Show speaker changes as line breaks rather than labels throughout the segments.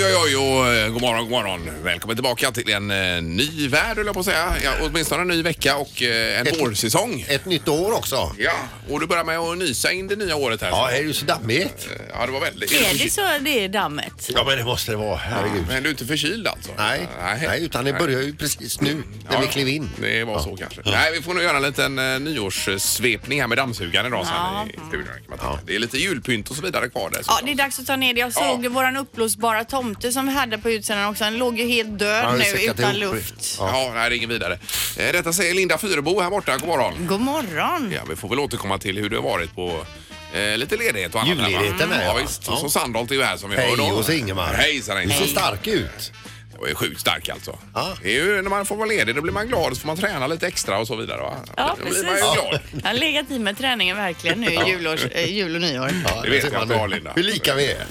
morgon, eh, god morgon. Välkommen tillbaka till en eh, ny värld, höll jag på att säga. Ja, åtminstone en ny vecka och eh, en
Ett-
vårsäsong.
Ett nytt år också.
Ja, och du börjar med att nysa in det nya året här.
Ja, det är ju så dammigt.
Eh, ja det var väldigt...
Är det så det är dammet?
Ja, men det måste det vara. Herregud.
Men du är inte förkyld alltså?
Nej, nej, utan det börjar ju precis nu när
Ja,
vi klev in.
Det var så kanske. Nej, vi får nog göra en liten eh, nyårssvepning här med dammsugaren idag sen i studion. Kan man tänka. Det är lite julpynt och så vidare kvar där.
Ja, det är dags att ta ner det. Jag såg
Ja.
våran uppblåsbara tomte som vi hade på utsidan också. Den låg ju helt död
Ja, vi
nu
säckade
utan
ihop.
luft.
Ja, nej, det är ingen vidare. Eh, Detta säger Linda Fyrebo här borta. God morgon.
God morgon.
Ja, vi får väl återkomma till hur det har varit på eh, lite ledighet och annat. här, va?
Julledigheten här,
ja.
ja.
visst.
Ja.
Och så Sandholt är ju här som vi
Hej
hör då.
och så Ingemar.
Hejsan
Du ser
hejsan.
stark ut.
Jag är sjukt stark alltså.
Ja.
Det är ju, när man får vara ledig då blir man glad så får man träna lite extra och så vidare. Va?
Ja,
då
precis.
blir man ju glad.
Jag har legat i med träningen verkligen nu i julårs, eh, jul och nyår.
Ja,
Det vet
ser
jag
man
bra,
nu.
Linda.
Hur lika vi är.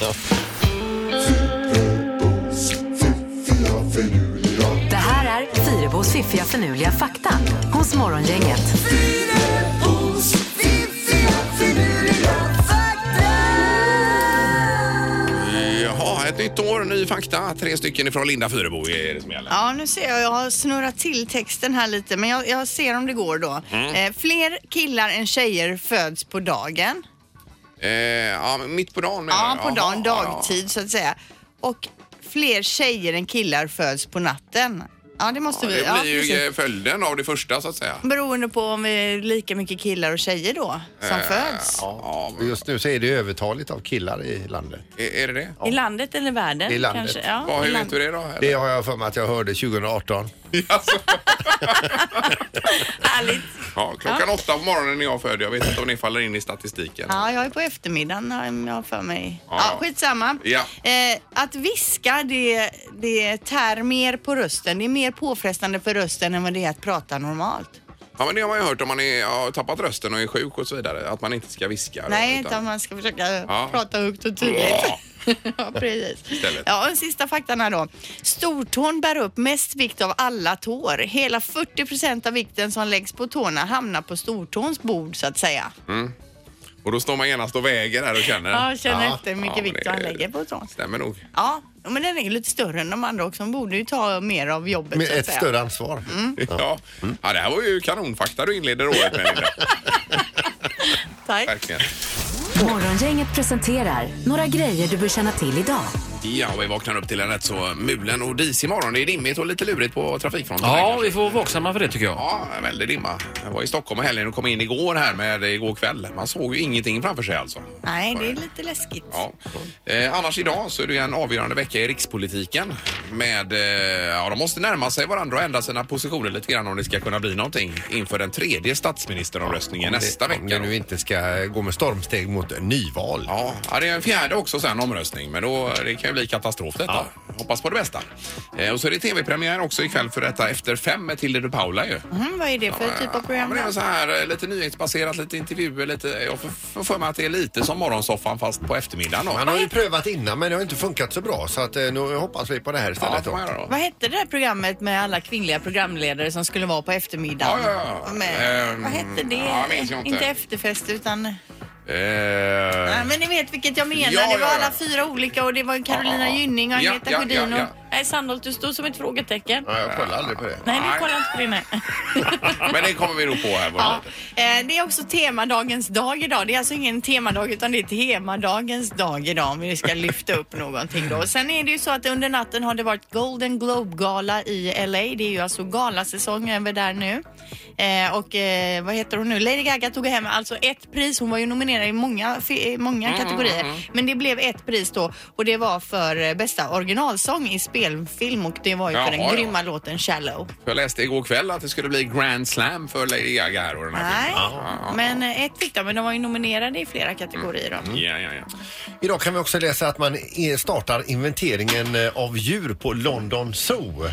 Ja.
Det här är Fyrabos fiffiga förnuliga fakta hos Morgongänget.
Jaha, ett nytt år, ny fakta. Tre stycken ifrån Linda Fyrebo är det som gäller.
Ja, nu ser jag. Jag har snurrat till texten här lite, men jag, jag ser om det går då.
Mm.
Eh, fler killar än tjejer föds på dagen.
Eh, ja, men mitt på dagen menar
Ja,
du?
på dagen,
Jaha,
dagtid så att säga. Och fler tjejer än killar föds på natten. Ja, det måste
Ja,
vi.
det
Ja,
blir ju
precis.
eh, följden av det första så att säga.
Beroende på om vi är lika mycket killar och tjejer då som
Äh.
föds.
Ja,
Och Just nu så är det övertaligt av killar i landet.
är är det det?
I landet eller världen?
I landet.
Kanske? Ja,
Vad,
i
hur vet
landet.
du det då? eller?
Det har jag för mig att jag hörde 2018.
Härligt.
Ja, klockan åtta på morgonen när jag född. Jag vet inte om ni faller in i statistiken.
Ja, jag är på eftermiddagen har jag- jag har för mig.
Ja.
Ja, skitsamma.
Ja.
Eh, att viska det, det tär mer på rösten. Det är mer påfrestande för rösten än vad det är att prata normalt.
Ja, men det har man ju hört om man är, har tappat rösten och är sjuk och så vidare. Att man inte ska viska. då,
Nej, inte om man ska försöka
Ja.
prata högt och tydligt.
Ja.
ja, precis.
Istället.
Ja, och den sista faktan här då. Stortån bär upp mest vikt av alla tår. Hela 40 procent av vikten som läggs på tårna hamnar på stortåns bord så att säga.
Och då står man genast och väger där och känner.
Ja, känner
Ja.
efter hur mycket
Ja,
vikt
det-
han lägger på tån.
Stämmer nog.
Ja, men den är ju lite större än de andra också. De borde ju ta mer av jobbet
Med
så att
ett
säga.
större ansvar.
Mm.
Ja. ja, det här var ju kanonfakta du inleder året med. Linda.
Tack.
Verkligen.
Morgongänget presenterar några grejer du bör känna till idag.
Ja, och vi vaknar upp till en rätt så mulen och disig morgon. Det är dimmigt och lite lurigt på trafikfronten. här
Ja,
kanske.
vi får vara vaksamma för det tycker jag.
Ja, en väldig dimma. Jag var i Stockholm i helgen och kom in igår här med igår kväll. Man såg ju ingenting framför sig alltså.
Nej, det är lite läskigt.
Ja. Eh, annars idag så är det ju en avgörande vecka i rikspolitiken. Med, eh, ja, de måste närma sig varandra och ändra sina positioner lite grann om det ska kunna bli någonting inför den tredje statsministeromröstningen nästa
Om det
vecka.
nu
då.
inte ska gå med stormsteg mot nyval.
Ja, ja, det är en fjärde också sen omröstning, men då, det kan ju bli katastrof detta. Hoppas på det bästa. Eh, och så är det tv-premiär också ikväll för detta Efter fem med Tilde de Paula ju.
Mm, vad är det för typ av
Ja,
program?
men det är så här eh, lite nyhetsbaserat, lite intervjuer, lite... Jag får- får för mig att det är lite som Morgonsoffan fast på eftermiddagen då.
Man har ju prövat innan men det har inte funkat så bra så att eh, nu hoppas vi på det här
Ja, det
istället.
får man
då.
göra då.
Vad hette det där programmet med alla kvinnliga programledare som skulle vara på eftermiddagen?
Ja, ja, ja.
Med,
Ehm,
vad hette det?
ja, jag minns jag inte.
efterfest utan...
Eh,
Nej, men ni vet vilket jag menar.
Ja,
det var
ja, ja.
alla fyra olika och det var Carolina
Ja, ja, ja.
Gynning och
Ja,
Agneta
ja,
Sjödin
ja, ja.
och... Nej, Sandholt, du står som ett frågetecken.
Ja, jag kollar aldrig på det.
Nej,
Nej.
vi kollar inte på det. Nej.
Men det kommer vi nog på här. vad det
Ja,
heter.
eh, det är också temadagens dag idag. Det är alltså ingen temadag utan det är temadagens dag idag om vi ska lyfta upp någonting då. Och Sen är det ju så att under natten har det varit Golden Globe-gala i LA. Det är ju alltså galasäsong över där nu. Eh, och eh, vad heter hon nu? Lady Gaga tog hem alltså ett pris. Hon var ju nominerad i många, fi- i många kategorier. Men det blev ett pris då och det var för eh, bästa originalsång i spelfilm och det var ju för den
Jaha, ja.
grymma låten Shallow.
För jag läste igår kväll att det skulle bli Grand Slam för Lady Gaga här och den här
Nej,
filmen. Ja,
men eh, ett fick de. Men de var ju nominerade i flera kategorier. Då.
Ja, ja, ja.
Idag kan vi också läsa att man eh, startar inventeringen eh, av djur på London Zoo.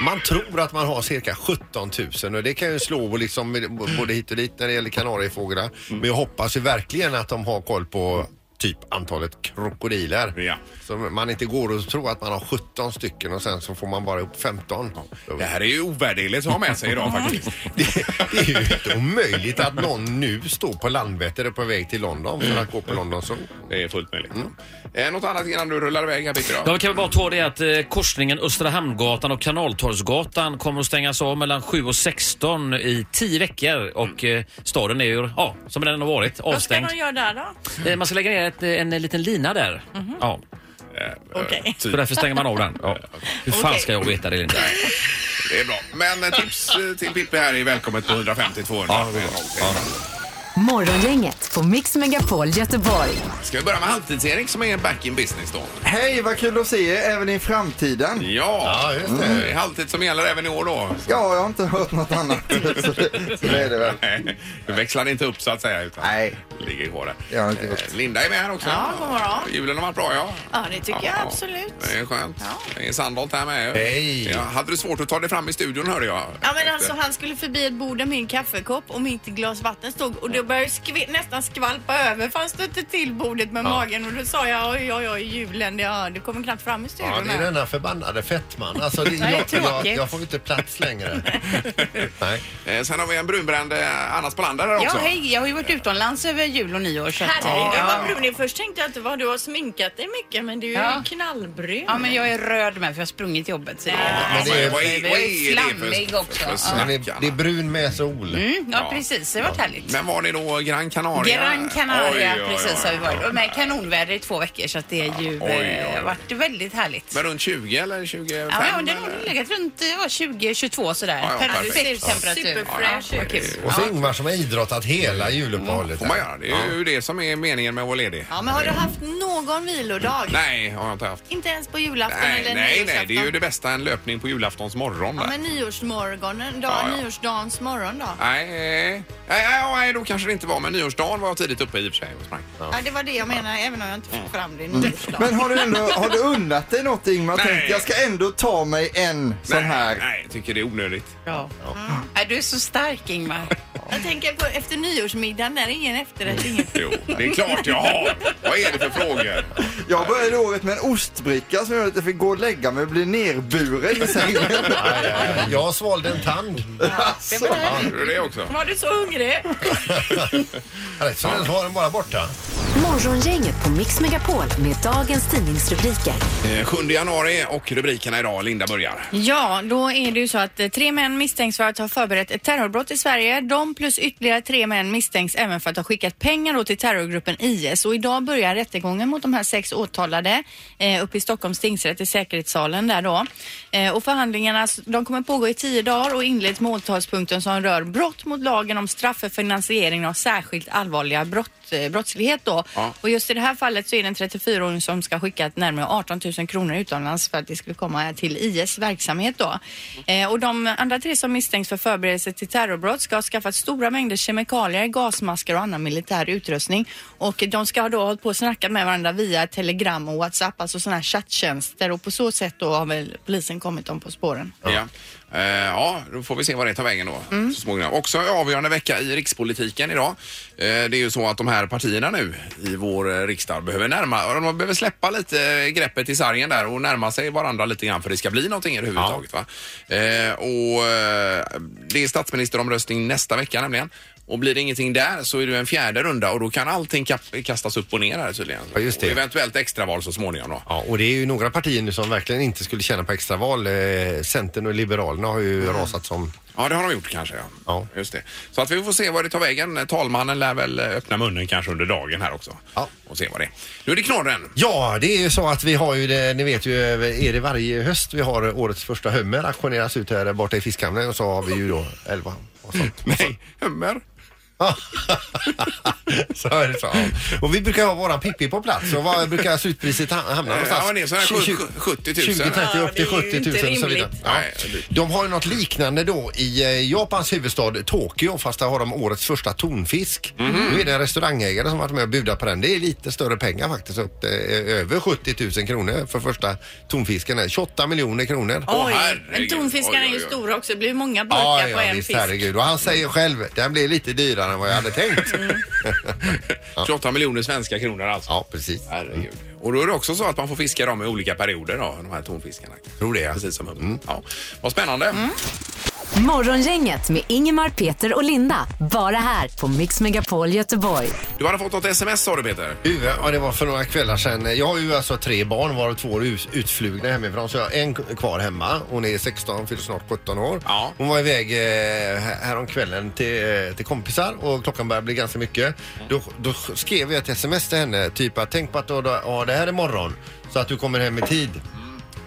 Man tror att man har cirka 17 000 och det kan ju slå på liksom både hit och dit när det gäller kanariefåglar. Men jag hoppas ju verkligen att de har koll på typ antalet krokodiler.
Ja.
Så man inte går och tror att man har 17 stycken och sen så får man bara upp 15. Då-
Det här är ju ovärderligt att ha med sig idag faktiskt.
Det, det är ju inte omöjligt att någon nu står på Landvetter och på väg till London för att gå på London Zoo.
Det är fullt möjligt.
Mm.
Eh, något annat innan du rullar iväg här Peter?
Ja, vi kan väl bara ta det att eh, korsningen Östra Hamngatan och Kanaltorgsgatan kommer att stängas av mellan 7 och 16 i 10 veckor och eh, staden är ju, ja, som den har
Vad
varit,
ska
avstängd.
de göra Mhm. där då?
Eh, man ska lägga ner ett, eh, en liten lina där. Ja,
Okej.
så därför stänger man av den. Ja. Hur fan
Okej.
ska jag veta det Linda?
Det är bra. Men eh, tips eh, till Pippi här är välkommet på 150 200.
Morgongänget på Mix Megapol Göteborg.
Ska vi börja med Halvtids-Erik som är back in business då?
Hej, vad kul att se er även i framtiden.
Ja,
Ja, just det.
Mm, det är halvtid som gäller även i år då.
Ja, jag har inte hört något annat. Så det, så det är det väl.
Nej, Du växlar inte upp så att säga utan
Nej.
ligger kvar där.
Det har jag inte gjort.
Eh, Linda är med här också.
Ja, god morgon.
Julen har varit bra ja.
Ja, det tycker jag absolut.
Det är skönt.
Ja.
Det är Sandholt här med.
Hej.
Ja, hade du svårt att ta dig fram i studion hörde jag.
Ja men alltså han skulle förbi ett bord där min kaffekopp och mitt glas vatten stod och då började skv- nästan skvalpa över för han stötte till bordet med magen och då sa jag oj oj oj julen, det, ja, det kommer knappt fram i studion
Ja, det är
här.
denna förbannade fettman. Alltså, det,
Det är
jag, jag,
tråkigt.
jag får inte plats längre. Nej.
Eh, Sen har vi en brunbränd eh, Anna Spolander här
Ja,
också.
hej. Jag har ju varit utomlands över jul och nyår. Så att,
Herregud
ja.
vad brun du är. Först tänkte jag att det var du har sminkat dig mycket men du är
Ja.
ju knallbrun.
ja, men jag är röd med för jag har sprungit till jobbet. Så det
Ja,
är
men
det är-
vad är- vad är det för-
Flammig också.
för
Ja.
snack,
Det är, det är
Anna?
brun med sol.
Mm, ja, precis. Det har varit härligt.
Men var ni då Gran Canaria?
Gran Canaria
Oj, oj, oj.
precis har vi varit. Och med kanonväder i två veckor så att det är ju
Oj, oj, oj.
eh, varit väldigt härligt.
Men runt 20 eller 25?
Ja, men det har
eller?
nog legat runt eh, 20-22 sådär.
Ja, ja,
perfekt,
perfekt.
temperatur.
Superfräsch
ja,
ut.
vad kul.
Och så Ingmar som har idrottat hela juluppehållet.
Får man göra? Det är ju det som är meningen med att vara ledig.
Ja men har du haft någon vilodag?
Nej, har jag inte haft.
Inte ens på julafton
Nej,
eller
nej,
nyårsafton?
nej, det är ju det bästa, en löpning på julaftons morgon.
Ja
där.
men nyårsmorgonen, dag,
Ja, ja.
nyårsdagens morgon då? Ja.
Nej, nej, nej, nej, då kanske det inte var, men nyårsdagen var jag tidigt uppe i och för sig. och sprang.
det var det jag menade även om jag inte
Mm.
fick fram det i nyårsdagen.
Men har du, ändå, har du unnat dig något Ingmar?
Nej.
Tänk, jag ska ändå ta mig en sån
Nej,
här.
Nej, jag tycker det är onödigt.
Ja. Ja, Du är så stark Ingmar.
Mm.
Jag tänker på efter nyårsmiddagen, där är ingen efterrätt, inget.
Jo, det är klart jag har. Vad är det för frågor?
Jag började året med en ostbricka som gör att jag fick gå och lägga mig och bli nerburen i sängen.
Nej, nej, nej. Jag svalde en tand.
Alltså.
Hörde du det också?
Var du så hungrig?
Rätt som den Alltså, så var den bara borta.
Morgongänget på Mix Megapol med dagens tidningsrubriker.
Eh, 7 januari och rubrikerna idag. Linda börjar.
Ja, då är det ju så att eh, tre män misstänks för att ha förberett ett terrorbrott i Sverige. De plus ytterligare tre män misstänks även för att ha skickat pengar då till terrorgruppen IS. Och idag börjar rättegången mot de här sex åtalade eh, uppe i Stockholms tingsrätt i säkerhetssalen där då. Eh, och förhandlingarna de kommer pågå i tio dagar och inleds med åtalspunkten som rör brott mot lagen om straff för finansiering av särskilt allvarliga brott, eh, brottslighet då.
Ja.
Och just i det här fallet så är det en 34-åring som ska skicka ett närmare 18 000 kronor utomlands för att det skulle komma till IS verksamhet då. Eh, och de andra tre som misstänks för förberedelse till terrorbrott ska ha skaffat stora mängder kemikalier, gasmasker och annan militär utrustning. Och de ska ha då hållit på och snackat med varandra via telegram och WhatsApp, alltså sådana här chatttjänster och på så sätt då har väl polisen kommit dem på spåren.
Ja. Eh, ja, då får vi se vad det tar vägen då.
Mm.
Så småningom. Också avgörande vecka i rikspolitiken idag. Eh, det är ju så att de här partierna nu i vår eh, riksdag behöver närma, de behöver släppa lite eh, greppet i sargen där och närma sig varandra lite grann för det ska bli någonting överhuvudtaget. Va? Eh, och eh, det är statsministeromröstning nästa vecka nämligen. Och blir det ingenting där så är det en fjärde runda och då kan allting kap- kastas upp och ner här tydligen.
Ja, just det.
Och eventuellt extraval så småningom då.
Ja, och det är ju några partier nu som verkligen inte skulle tjäna på extraval. Eh, Centern och Liberalerna har ju rasat som...
Ja, det har de gjort kanske. Ja.
Ja.
Just det. Så att vi får se var det tar vägen. Talmannen lär väl öppna munnen kanske under dagen här också.
Ja.
Och se vad det är. Nu är det knorren.
Ja, det är ju så att vi har ju det, ni vet ju, eh, är det varje höst vi har årets första hummer auktioneras ut här borta i fiskhamnen och så har vi ju då elva och sånt.
Nej, Alltså, hummer.
så är det så. ja. Och vi brukar ha våran Pippi på plats och vad brukar slutpriset ha- hamna någonstans?
Ja, det är så här 70 000.
20, 30, upp till 70 000 och så vidare. Ja.
Nej, det är dyrt.
De har ju något liknande då i eh, Japans huvudstad Tokyo fast där har de årets första tonfisk.
Mhm.
Nu är det en restaurangägare som varit med och budat på den. Det är lite större pengar faktiskt. Upp, till, eh, över 70 000 kronor för första tonfisken. här. 28 miljoner kronor.
Åh,
Oj,
herregud.
men tonfiskarna
Oj,
är ju
oj, oj.
stora också. Det blir många burkar på en
visst,
fisk.
herregud. Och han säger själv, den blir lite dyrare redan än vad jag hade tänkt.
Mm.
28 miljoner svenska kronor alltså.
Ja, precis.
Herregud. Och då är det också så att man får fiska dem i olika perioder då, de här tonfiskarna.
Tror det, Mm. ja.
Precis som hummer. Ja. Vad spännande.
Mm.
Morgongänget med Ingemar, Peter och Linda. Bara här på Mix Megapol Göteborg.
Du hade fått något sms sa du Peter.
Du, ja, det var för några kvällar sedan. Jag har ju alltså tre barn varav två är ut- utflugna hemifrån. Så jag har en k- kvar hemma. Hon är 16, fyller snart 17 år.
Ja.
Hon var iväg eh, här- häromkvällen till, eh, till kompisar och klockan började bli ganska mycket. Då, då skrev jag ett sms till henne. Typ att tänk på att du, har- ja, det här är morgon så att du kommer hem i tid.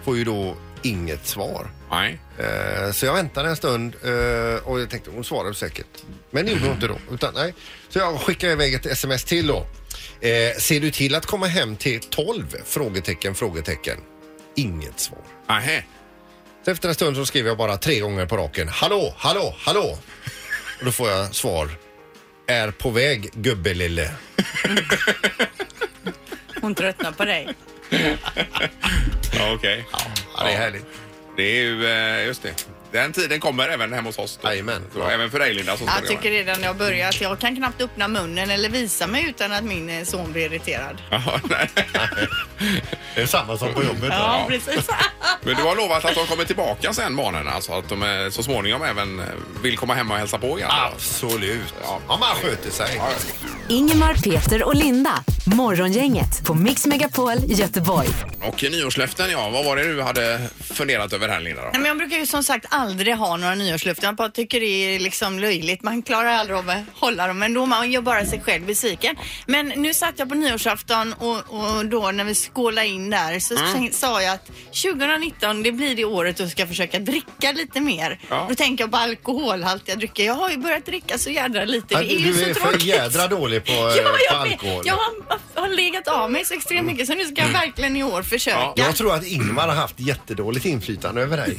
Får ju då inget svar.
Nej.
Eh, Så jag väntade en stund eh, och jag tänkte hon svarade säkert. Men det gjorde hon inte då. Utan, nej. Så jag skickade iväg ett sms till då. Eh, ser du till att komma hem till 12? Frågetecken, frågetecken. Inget svar.
Nähä.
Så efter en stund så skriver jag bara tre gånger på raken. Hallå, hallå, hallå. Och då får jag svar. Är på väg gubbelille.
Hon tröttnar på dig.
Ja, okej.
Ja, det är härligt.
Det är ju, eh, just det. Den tiden kommer även hemma hos oss. då.
Jajamän.
Så, även för dig Linda. Så
Jag tycker
det.
redan när jag börjar att jag kan knappt öppna munnen eller visa mig utan att min eh, son blir irriterad.
Ja, nej.
Det är samma som på jobbet.
Ja, precis.
Men du har lovat att de kommer tillbaka sen barnen, alltså att de eh, så småningom även eh, vill komma hem och hälsa på igen.
Absolut. Ja, man sköter sig.
Ja, ja.
Ingemar, Peter och Linda. Morgongänget på Mix Megapol Göteborg.
Och nyårslöften, ja. Vad var det du hade funderat över här, Linda? Då?
Nej, men jag brukar ju som sagt aldrig ha några nyårslöften. Jag bara tycker det är liksom löjligt. Man klarar aldrig av att hålla dem ändå. Man gör bara sig själv besviken. Men nu satt jag på nyårsafton och, och då när vi skålade in där så
Mm.
sen- sa jag att 2019 det blir det året då jag ska försöka dricka lite mer.
Ja.
Då tänker jag på alkoholhaltiga drycker. Jag har ju börjat dricka så jädra lite.
Ja,
Det är ju
du
så
är för
tråkigt.
jädra dålig på, eh,
Ja,
på
jag,
alkohol.
vet. jag har, har legat av mig så extremt mycket så nu ska jag verkligen i år försöka.
Mm. Ja.
Jag tror att Ingmar har haft jättedåligt inflytande över dig.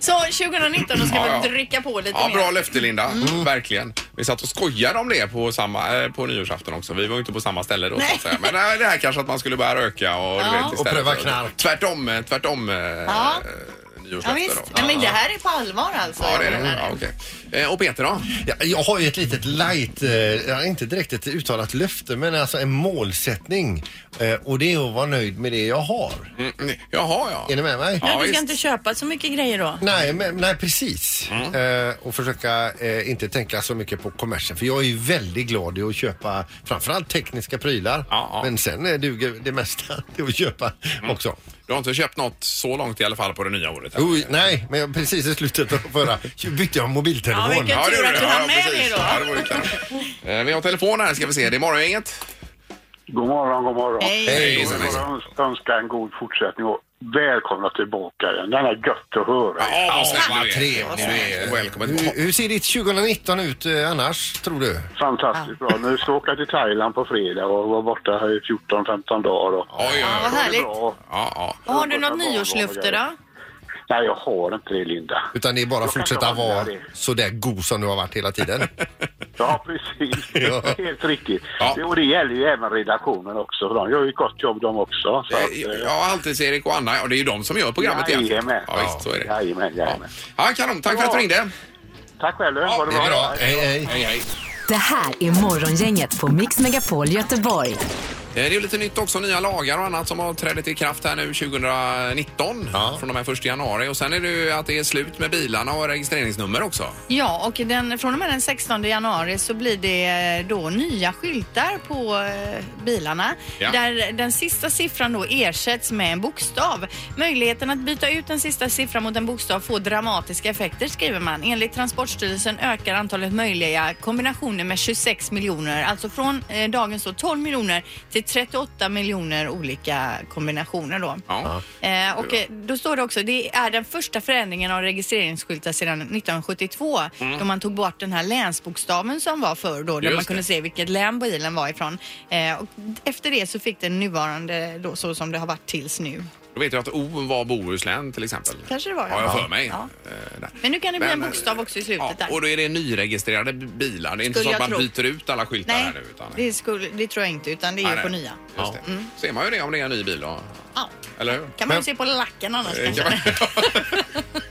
Så 2019 då ska
Ja,
vi
ja.
dricka på lite
Ja,
mer.
bra löfte Linda.
Mm.
Mm. Verkligen. Vi satt och skojade om det på, samma, eh, på nyårsafton också. Vi var ju inte på samma ställe då. Så att
Nej.
säga. Men nej, det här kanske att man skulle börja röka och, du
Ja.
vet, istället
Och pröva
för-
knark.
Tvärtom, eh, tvärtom eh, eh,
Ja,
nyårslöfte
visst.
då.
Nej, men det här är på allvar alltså.
Ja, det är
Jag
det.
menar
Ja, okej. Eh, Och Peter då?
Ja, Jag har ju ett litet light, eh, jag har inte direkt ett uttalat löfte, men alltså en målsättning. Eh, och det är att vara nöjd med det jag har.
Mm, mm. Jaha, ja.
Är ni med mig?
Ja,
Nej, du
visst.
ska inte köpa så mycket grejer då.
Nej, men, nej, precis.
Mm.
Eh, och försöka eh, inte tänka så mycket på kommersen. För jag är ju väldigt glad i att köpa framförallt tekniska prylar.
Ja, Mm. ja.
Men sen eh, duger det mesta till att köpa också.
Du har inte köpt något så långt i alla fall på det nya året?
Jo, nej, men jag- precis i slutet av förra bytte jag mobiltelefon.
Ja, vilken tur
gjorde
att du hann med
precis.
det då.
Ja, det var ju kanon. Eh, Vi har telefon här ska vi se. Det är Morgongänget.
God morgon, god morgon.
Nej.
Hejsan, hejsan.
Jag önskar en god fortsättning och välkomna tillbaka. Den är gött att höra.
Ja, vad snäll du är.
trevlig du är.
Och Välkommen.
Alltså, Hur, hur ser ditt 2019 ut eh, annars, tror du?
Fantastiskt bra. Nu ska jag åka till Thailand på fredag och vara borta här i 14-15 dagar. Och...
Oj, oj,
Vad
oj.
Det är
härligt.
bra.
Ja, ja.
Och Har du något nyårslöfte då?
Nej, jag har inte det, Linda.
Utan det är bara att
Jag kanske
fortsätta
har
vara
det.
så där god som du har varit hela tiden.
Ja, precis.
Ja.
Helt riktigt.
Ja.
Det, och det gäller ju även redaktionen också. för De gör ju ett gott jobb de också. Så att, eh,
Ja, alltid erik och Anna. Ja, det är ju de som gör programmet
Jajamän.
Ja, visst, så är det.
Jajamän, jajamän.
Ja, kanon. Tack för att du ringde.
Tack själv. Ha det
Det är bra. Hej, hej.
Hej, hej.
Det här är Morgongänget på Mix Megapol Göteborg.
Eh, Det är ju lite nytt också, nya lagar och annat som har trädit i kraft här nu 2019
Ja.
från och med 1 januari. Och sen är det ju att det är slut med bilarna och registreringsnummer också.
Ja, och den, från och med den 16 januari så blir det eh, då nya skyltar på eh, bilarna.
Ja.
Där den sista siffran då ersätts med en bokstav. Möjligheten att byta ut den sista siffran mot en bokstav får dramatiska effekter skriver man. Enligt Transportstyrelsen ökar antalet möjliga kombinationer med 26 miljoner. Alltså från eh, dagens då 12 miljoner till 38 miljoner olika kombinationer då.
Ja.
Eh, och eh, då står det också, det är den första förändringen av registreringsskyltar sedan 1972 då man tog bort den här länsbokstaven som var förr då, där
Mm. Just
man kunde
det.
se vilket län bilen var ifrån. Eh, och efter det så fick den nuvarande då så som det har varit tills nu.
Då vet jag att O var Bohuslän till exempel.
Kanske det var
Har jag för mig.
Ja.
Eh, där.
Men nu kan det bli
Men,
en bokstav också i
Ja,
slutet
och
där.
då är det nyregistrerade bilar. Det är inte
Skulle
så att
jag
man
tro.
byter ut alla skyltar
Nej,
här nu. Utan,
det, skulle, det tror jag inte utan det
Nej,
är ju
nej.
på nya.
Just det. Ser man ju det om det är en ny bil då?
Ja.
Eller hur?
Kan man ju
Men-
se på lacken annars
Eh,
kanske.
kan man-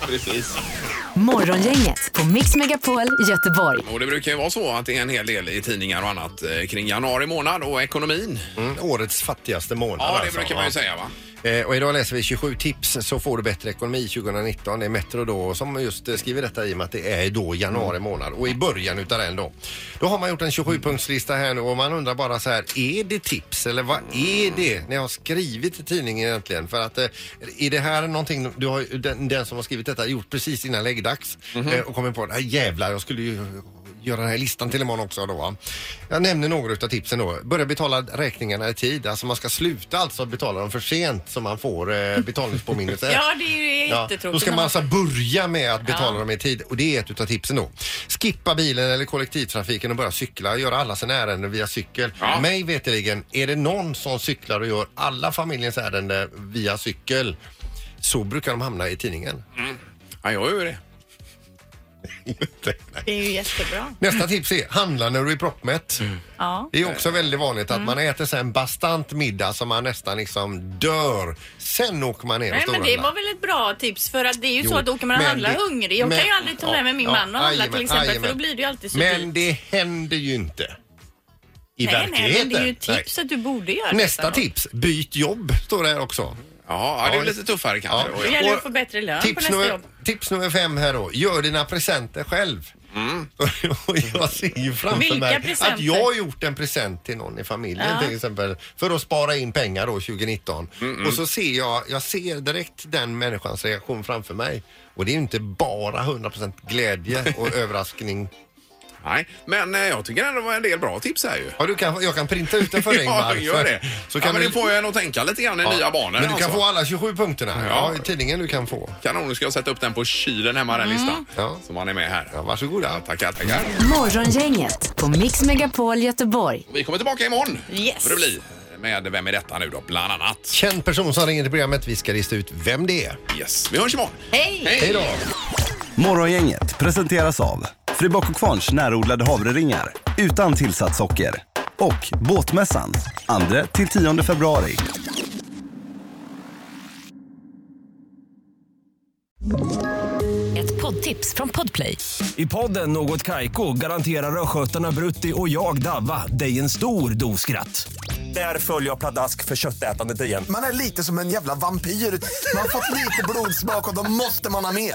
Precis.
Morgongänget på Mix Megapol Göteborg.
Och det brukar ju vara så att det är en hel del i tidningar och annat eh, kring januari månad och ekonomin.
Mm, årets fattigaste månad.
Ja, det
alltså,
brukar man ju säga va?
Eh, Och idag läser vi 27 tips så får du bättre ekonomi 2019. Det är Metro då som just eh, skriver detta i och med att det är då januari månad och i början utav den då. Då har man gjort en 27-punktslista här nu och man undrar bara så här, är det tips eller vad är det ni har skrivit i tidningen egentligen? För att eh, är det här någonting, du har, ju- den, den som har skrivit detta har gjort precis innan läggdags eh, och kommit på att "Ah, jävlar jag skulle ju göra den här listan till imorgon också då. va? Jag nämner några utav tipsen då. Börja betala räkningarna i tid. Alltså man ska sluta alltså betala dem för sent så man får eh, betalningspåminnelse.
Ja, det är ju
Ja,
jättetråkigt.
då ska man alltså börja med att betala dem i tid och det är ett utav tipsen då. Skippa bilen eller kollektivtrafiken och börja cykla. Göra alla sina ärenden via cykel.
Ja.
Mig veterligen, är det någon som cyklar och gör alla familjens ärenden via cykel så brukar de hamna i tidningen.
Ja, jag gör ju det.
Det är ju jättebra.
Nästa tips är handla när du är proppmätt.
Ja. Mm.
Det är också väldigt vanligt att man äter sig en bastant middag som man nästan liksom dör. Sen åker man ner och
Nej, men det
storhandlar.
var väl ett bra tips för att det är ju
Jo,
så att då kan man
men
handla
det-
hungrig. Jag
men-
kan ju aldrig ta
ja,
med mig min
ja,
man och handla till
jajamän,
exempel för då
jajamän.
blir det ju alltid så
Men
dyrt.
det händer ju inte. I
Nej,
verkligheten.
nej, men det är ju ett
Nej.
tips att du borde göra
Nästa
detta.
tips, byt jobb, står det här också.
Ja, ja, det är
Ja.
lite tuffare kanske.
Ja.
då,
Det
Ja.
gäller
Och
att få bättre lön på
Tips
nästa
nummer,
jobb.
tips nummer fem här då, gör dina presenter själv.
Mm.
Och jag ser ju framför
Vilka
mig att
presenter?
jag har gjort en present till någon i familjen
Ja.
till exempel för att spara in pengar då 2019.
Mm,
Och så ser jag, jag ser direkt den människans reaktion framför mig. Och det är ju inte bara 100% glädje och överraskning.
Nej, men eh, jag tycker ändå det var en del bra tips här ju.
Ja, du kan, jag kan printa ut den för dig
Ja,
Ingmar.
gör det.
Så
ja,
kan
men
du,
det får jag en att tänka lite grann i nya banor.
men du kan
alltså.
få alla 27 punkterna.
Ja.
Ja, i tidningen du kan få.
Kanon, nu ska jag sätta upp den på kylen hemma, den listan.
Mm. Ja.
Som man är med här.
Ja, varsågoda.
Tackar, tackar.
Morgongänget på Mix Megapol Göteborg.
Vi kommer tillbaka imorgon.
Yes.
Får det bli. Med Vem är detta nu då, bland annat.
Känd person som ringer till programmet. Vi ska lista ut vem det är.
Yes, vi hörs imorgon.
Hej!
Hej då!
Morgongänget presenteras av Fribock och Kvarns närodlade havreringar utan tillsatt socker och Båtmässan 2-10 februari.
Ett poddtips från Podplay.
I podden Något Kaiko garanterar östgötarna Brutti och jag, Davva, dig en stor dos skratt. Där följer jag pladask för köttätandet igen.
Man är lite som en jävla vampyr. Man har fått lite blodsmak och då måste man ha mer.